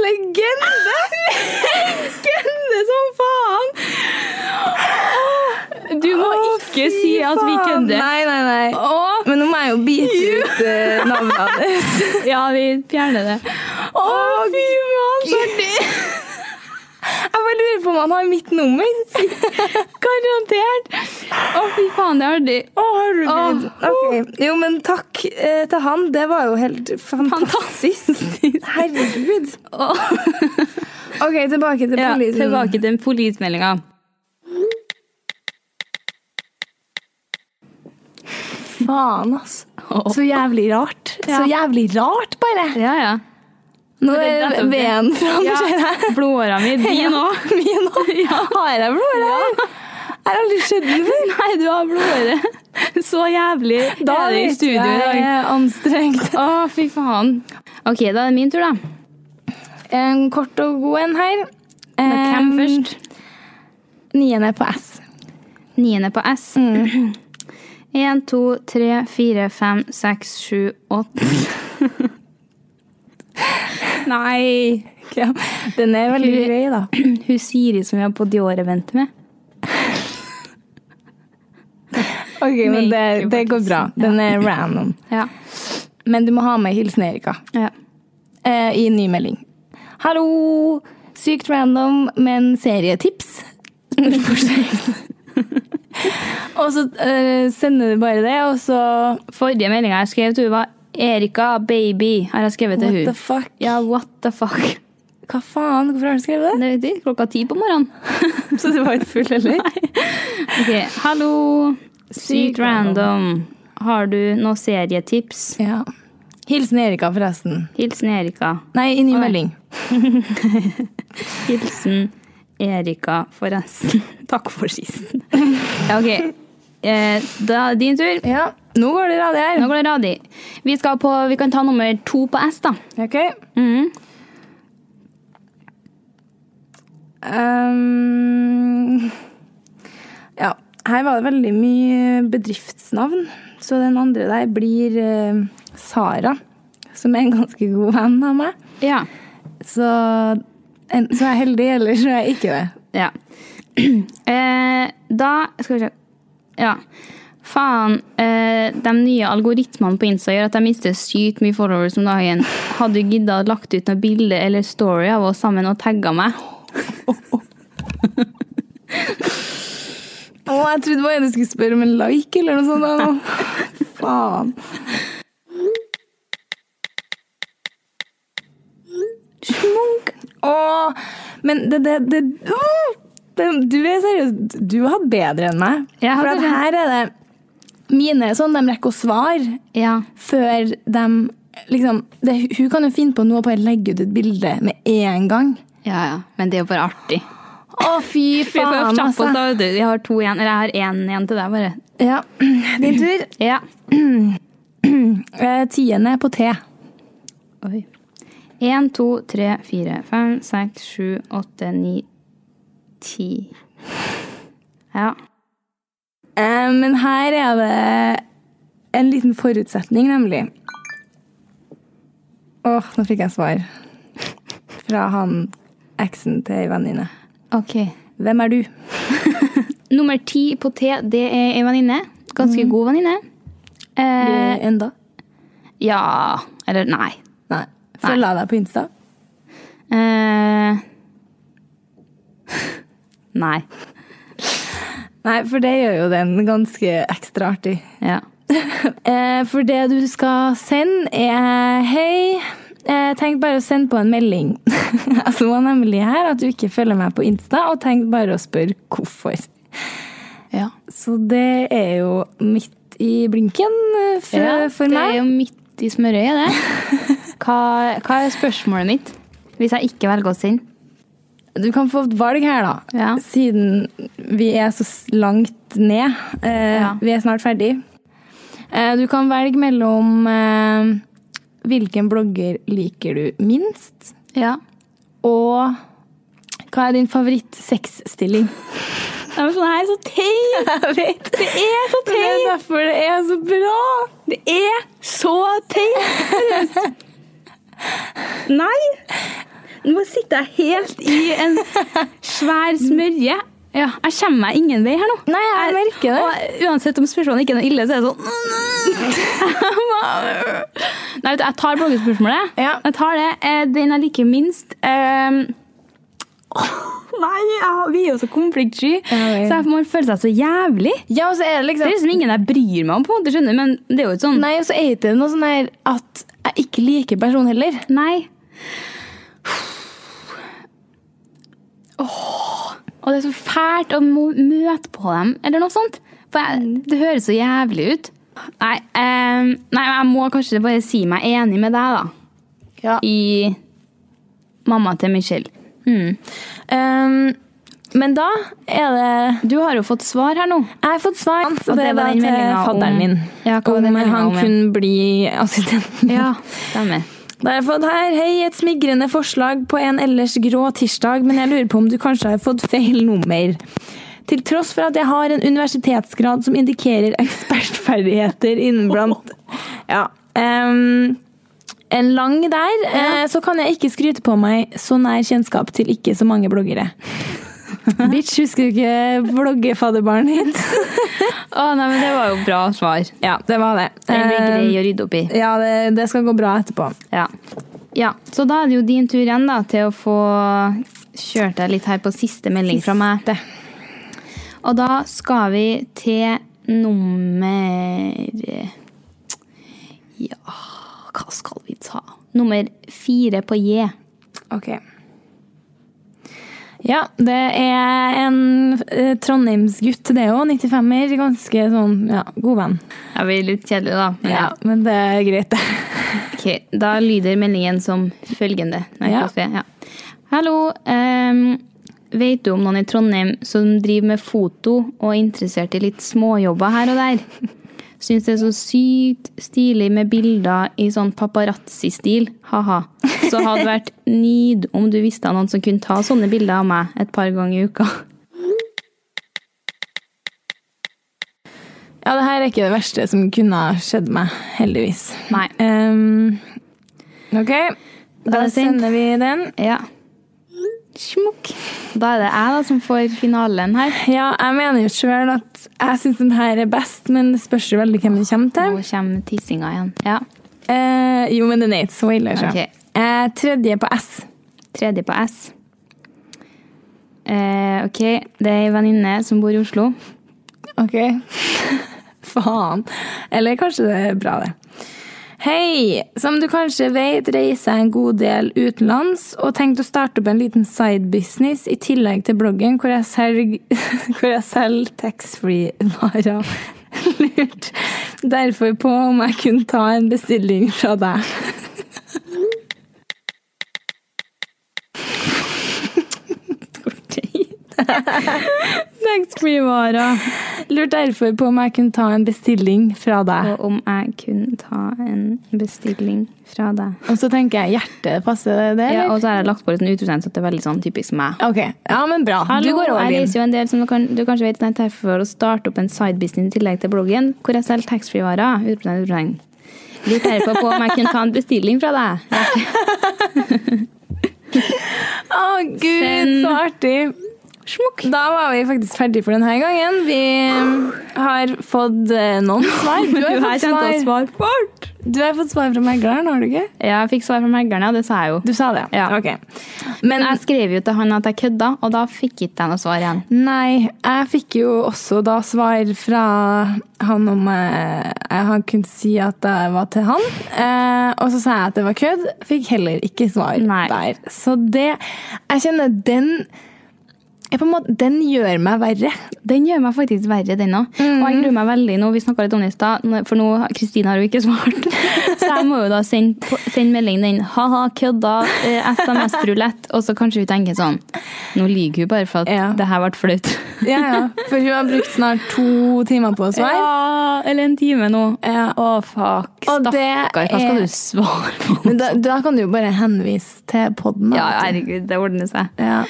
Legende! Legende som faen!
Du må ikke ikke si at vi
Faen,
kødder.
Nei, nei, nei. Men nå må jeg jo bite ut eh,
*laughs*
navnet hans.
Ja, vi fjerner det.
Å, fy faen, så artig! Jeg bare lurer på om han har mitt nummer.
Garantert! Å, fy faen, det er artig.
Å, herregud.
Åh.
Ok. Jo, men takk eh, til han. Det var jo helt fantastisk. *laughs* Herregud. Ok, tilbake til
Ja,
polisen.
*laughs* tilbake til polismeldinga.
Faen,
*laughs*
altså. Så jævlig rart. Så jævlig rart, bare.
Ja, ja.
Nå
er
er
rett opp
veden fram,
Ja,
ser jeg.
Blodåra *laughs* mi, din òg.
*laughs* Min
*laughs*
også. Har jeg blod her? Jeg har aldri sett den før.
Nei, du har blodåre. Så jævlig er det i
vet
studio i
jeg
dag.
er anstrengt.
Å, fy faen. Ok, da er det min tur, da.
En kort og god en her.
Men Hvem
Em,
først?
Niende på S.
Niende på S. Mm. Én, to, tre, fire, fem, seks, sju, åtte Nei!
Ja, Den er veldig
Fy-
grei, da.
Hun Siri som vi har på Dior-eventet med.
Ok, men det, det går bra. Den er random.
Ja.
Men du må ha med hilsen Erika
ja.
eh, i ny melding. Hallo! Sykt random, men serietips? Spørsmålstegn. og så eh, sender du bare det, og så
Forrige meldinga jeg skrev til hun var 'Erika, baby', har jeg skrevet til
What the
hun.
fuck?
Ja, what the fuck. *laughs*
Hva faen? Hvorfor har du skrevet det?
Det vet jeg, klokka ti på *laughs* morgenen.
Så du var ikke full, eller?
Ok, Hallo, sykt random. Har du noen serietips?
Ja. Hilsen Erika, forresten.
Hilsen Erika.
Nei, i ny
Oi.
melding.
Hilsen Erika, forresten. *laughs* Takk for *laughs* sist. Ja, ok. Eh, da er det din tur.
Ja. Nå går det radig her.
Nå går det radig. Vi, skal på, vi kan ta nummer to på S, da.
Ok. Mm. Ehm, ja, her var det veldig mye bedriftsnavn. Så den andre der blir eh, Sara, som er en ganske god venn av meg.
Ja.
Så enten så er jeg heldig, eller så er jeg ikke det.
ja. *clears throat* Eh, da Skal vi se. Ja. Faen. Eh, de nye algoritmene på Insta gjør at jeg mister sykt mye followers om dagen. Hadde du gidda å lagt ut noe bilde eller story av oss sammen og tagga meg?
Å, jeg trodde bare du skulle spørre om en like eller noe sånt. da,
*laughs*
nå. Faen. Smunk. Å, men det, det, det, Åh! det Du er seriøs. Du har hatt bedre enn meg.
Jeg har
For at
bedre.
her er det Mine er sånn, de rekker å svare
Ja.
før de liksom det, Hun kan jo finne på noe og bare legge ut et bilde med en gang.
Ja, ja. Men det er jo bare artig.
Å, fy
Vi får
faen,
kjappe oss,
altså.
da. vet du. Jeg har to igjen. Eller jeg har én igjen til deg, bare.
Ja. *clears throat* Din tur. *clears throat*
Ja.
Eh, Tiende på T.
Oi. Én, to, tre, fire, fem, seks, sju, åtte, ni, ti. Ja.
Eh, Men her er det en liten forutsetning, nemlig. Åh, nå fikk jeg svar. Fra han eksen til ei venninne.
OK.
Hvem er du?
Nummer ti på T, det er ei venninne. Ganske god venninne. Eh,
enda?
ja Eller nei.
Nei. Følger jeg deg på Insta?
Eh, *laughs* nei.
Nei, for det gjør jo den ganske ekstra artig.
Ja.
*laughs* Eh, for det du skal sende, er Hei, jeg tenkte bare å sende på en melding. *laughs* Jeg så nemlig her at du ikke følger meg på Insta, og tenkte bare å spørre hvorfor.
ja.
Så det er jo midt i blinken eh, for, for
Det er
meg.
jo midt i smørøyet, det. *laughs* Hva, hva er spørsmålet mitt? Hvis jeg ikke velger å sende?
Du kan få et valg her, da.
Ja.
Siden vi er så s- langt ned. Eh,
Ja.
Vi er snart ferdig. Eh, du kan velge mellom eh, hvilken blogger liker du minst,
Ja.
og hva er din
*laughs*
favoritt-sexstilling?
Det er sånn her så *laughs* teit!
Jeg vet
Det er så
Det er
teit!
derfor det er så bra!
Det er så teit! Nei! Nå sitter jeg helt i en svær smørje. Ja, jeg kommer meg ingen vei her nå.
Nei, jeg merker det.
Og uansett om spørsmålet ikke er noe ille, så er det sånn Nei, vet du, jeg tar bloggespørsmålet.
Ja.
Jeg tar det. Eh, Den jeg liker minst eh, Nei, jeg- vi er jo så konfliktsky,
Ja, vi-
så jeg man føler seg så jævlig.
Ja, og så er
Det
det
er
liksom
liksom ingen jeg bryr meg om, på en måte, skjønner du, men det er jo ikke sånn
Nei, og så er det ikke noe sånn her at jeg ikke liker personen heller.
Nei. Åh. Og det er så fælt å må møte på dem, eller noe sånt. For jeg, det høres så jævlig ut. Nei, eh, nei, men jeg må kanskje bare si meg enig med deg, da.
Ja.
I mamma til Michelle.
Um, men da er det
Du har jo fått svar her nå.
Jeg har fått svar.
Og det var den meldingen om-
fadderen min.
Ja, hva var
om
den meldingen
han
om igjen?
kunne bli assistenten min.
Ja, *laughs* stemmer.
Da har jeg fått her Hei, et smigrende forslag på en ellers grå tirsdag, men jeg lurer på om du kanskje har fått feil nummer. Til tross for at jeg har en universitetsgrad som indikerer ekspertferdigheter innen blant Ja. em, en lang der, eh, så kan jeg ikke skryte på meg så nær kjennskap til ikke så mange bloggere. *laughs* Bitch, husker du ikke bloggefadderbarnet ditt?
Å, nei, men det var jo bra svar.
ja, det var det.
Den blir
Eh,
grei å rydde opp i.
ja, det, det skal gå bra etterpå.
Ja. ja. Så da er det jo din tur igjen da, til å få kjørt deg litt her på siste melding fra meg. Og da skal vi til nummer Ja, hva skal vi ta? Nummer fire på J.
Ok. Ja, det er en eh, Trondheimsgutt, det òg. 95-er. Ganske sånn ja, god venn.
Jeg blir litt kjedelig, da. Men ja.
Ja, men det er greit, *laughs* det.
Ok, Da lyder meldingen som følgende. Nei,
Ja.
skal vi se, ja. Hallo. ehm, vet du om noen i Trondheim som driver med foto og er interessert i litt småjobber her og der? Syns det er så sykt stilig med bilder i sånn paparazzi-stil. Ha-ha. Så hadde vært nyd om du visste av noen som kunne ta sånne bilder av meg et par ganger i uka.
Ja, det her er ikke det verste som kunne ha skjedd meg, heldigvis.
Nei.
Ehm, ok, da
er det sent.
sender vi den.
Ja. Smukk. Da er det jeg da som får finalen her.
Ja, jeg mener jo sjøl at jeg syns den her er best, men det spørs jo veldig hvem det kommer til.
Nå kommer tissinga igjen. Ja.
Eh, jo, men den er ikke så ille, så.
Ok.
Eh, tredje på S.
Tredje på S. Eh, ok, det er ei venninne som bor i Oslo.
Ok. *laughs* Faen. Eller kanskje det er bra, det. Hei! Som du kanskje vet, reiser jeg en god del utenlands og tenkte å starte opp en liten sidebusiness i tillegg til bloggen hvor jeg selg- *laughs* hvor jeg selger taxfree-varer. *laughs* Lurt derfor på om jeg kunne ta en bestilling fra deg. *laughs* Taxfree-varer. Lurt derfor på om jeg kunne ta en bestilling fra deg.
Og om jeg kunne ta en bestilling fra deg.
Og så tenker jeg hjertet passer det, det
Ja,
eller?
og så har jeg lagt på litt sånn utropstegn, så det er veldig sånn typisk meg.
Ok, ja, men bra. du går all
jeg
in.
reiser jo en del, som du, kan, du kanskje vet, jeg er for å starte opp en sidebusiness i tillegg til bloggen, hvor jeg selger taxfree-varer. Utropstegn, utropstegn. Lurt derfor på om jeg kunne ta en bestilling fra deg. Ja,
Å, gud,
Send.
så artig! Da var vi faktisk ferdig for denne gangen. Vi har fått eh, noen svar.
*laughs*
Du har
Du har
fått
kjent
svar.
oss svar
Du har fått svar fra megleren, har du ikke?
Ja, jeg fikk svar fra meglerne, og det sa jeg jo.
Du sa det,
Ja.
Ok. Men
Jeg skrev jo til han at jeg kødda, og da fikk ikke jeg noe svar igjen.
nei, jeg fikk jo også da svar fra han om eh, Han kunne si at det var til han. Eh, og så sa jeg at det var kødd. Fikk heller ikke svar
Nei.
der. Så det Jeg kjenner den jeg på en måte, Den gjør meg verre.
Den gjør meg faktisk verre, den òg. Og
Mhm.
jeg gruer meg veldig nå. Vi snakka litt om det i stad, nå- for nå Kristine har jo ikke
*laughs*
svart. Så jeg må jo da sende, på- sende melding den ha-ha, kødda, eh, SMS-rulett, og så kanskje hun tenker sånn Nå lyver hun bare for at
Ja.
det her ble flaut. *laughs*
Ja, ja. For hun har brukt snart to timer på å svare.
Ja, eller en time nå.
Ja.
Å, fuck.
Og det
Stakkar, hva skal
er-
du svare på?
Men da, da kan du jo bare henvise til poden.
Ja, herregud, det ordner seg.
Ja.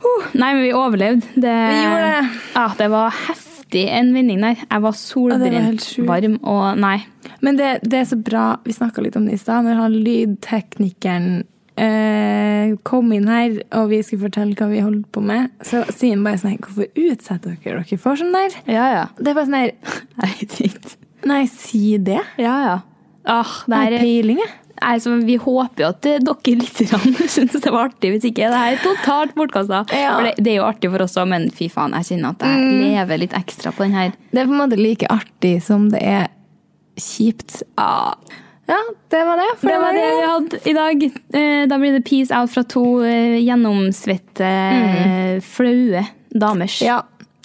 Uh, nei, men vi overlevde. Det,
Vi gjorde det.
Ja, det var heftig en vending der. Jeg var
det var helt
solbrent,
sjukt.
varm og Nei.
Men det, det er så bra Vi snakka litt om det i stad, når han lydteknikeren eh, eh, kom inn her, og vi skulle fortelle hva vi holdt på med, så sier han bare sånn her, hvorfor utsetter dere dere for sånn der?
Ja, ja.
Det er bare
*laughs*
sånn her,
Jeg vet ikke.
nei, si det.
Ja, ja. Ah, det
Nei,
er,
peiling, jeg.
Nei, så vi håper jo at eh, dere litt *laughs* syns det var artig. Hvis ikke, det her er totalt bortkasta.
Ja.
For Det, det er jo artig for oss òg, men fy faen, jeg kjenner at jeg lever litt ekstra på den her.
Det er på en måte like artig som det er kjipt. Ja, det var det. for
Det var
i
det
dag.
vi hadde i dag. Eh, Da blir det peace out fra to eh, gjennomsvette, eh, flaue damers.
Ja.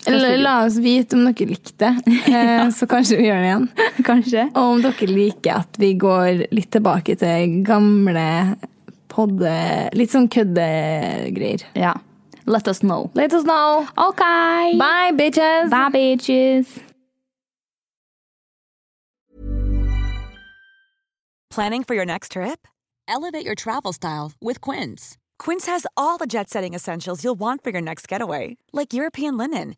Eller la oss vite om dere likte *laughs* det, eh, så kanskje vi gjør det igjen.
*laughs* Kanskje.
Og om dere liker at vi går litt tilbake til gamle podde... Litt sånn køddegreier.
Ja. Let us know.
Let us know!
Ok!
Bye, bitches!
Bye bitches!
Planning for your next trip?
Elevate your travel style with Quince.
Quince has all the jet setting essentials you'll want for your next getaway, like European linen,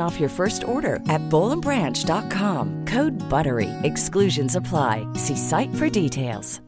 off your first order at bowlandbranch.com. Code BUTTERY. Exclusions apply. See site for details.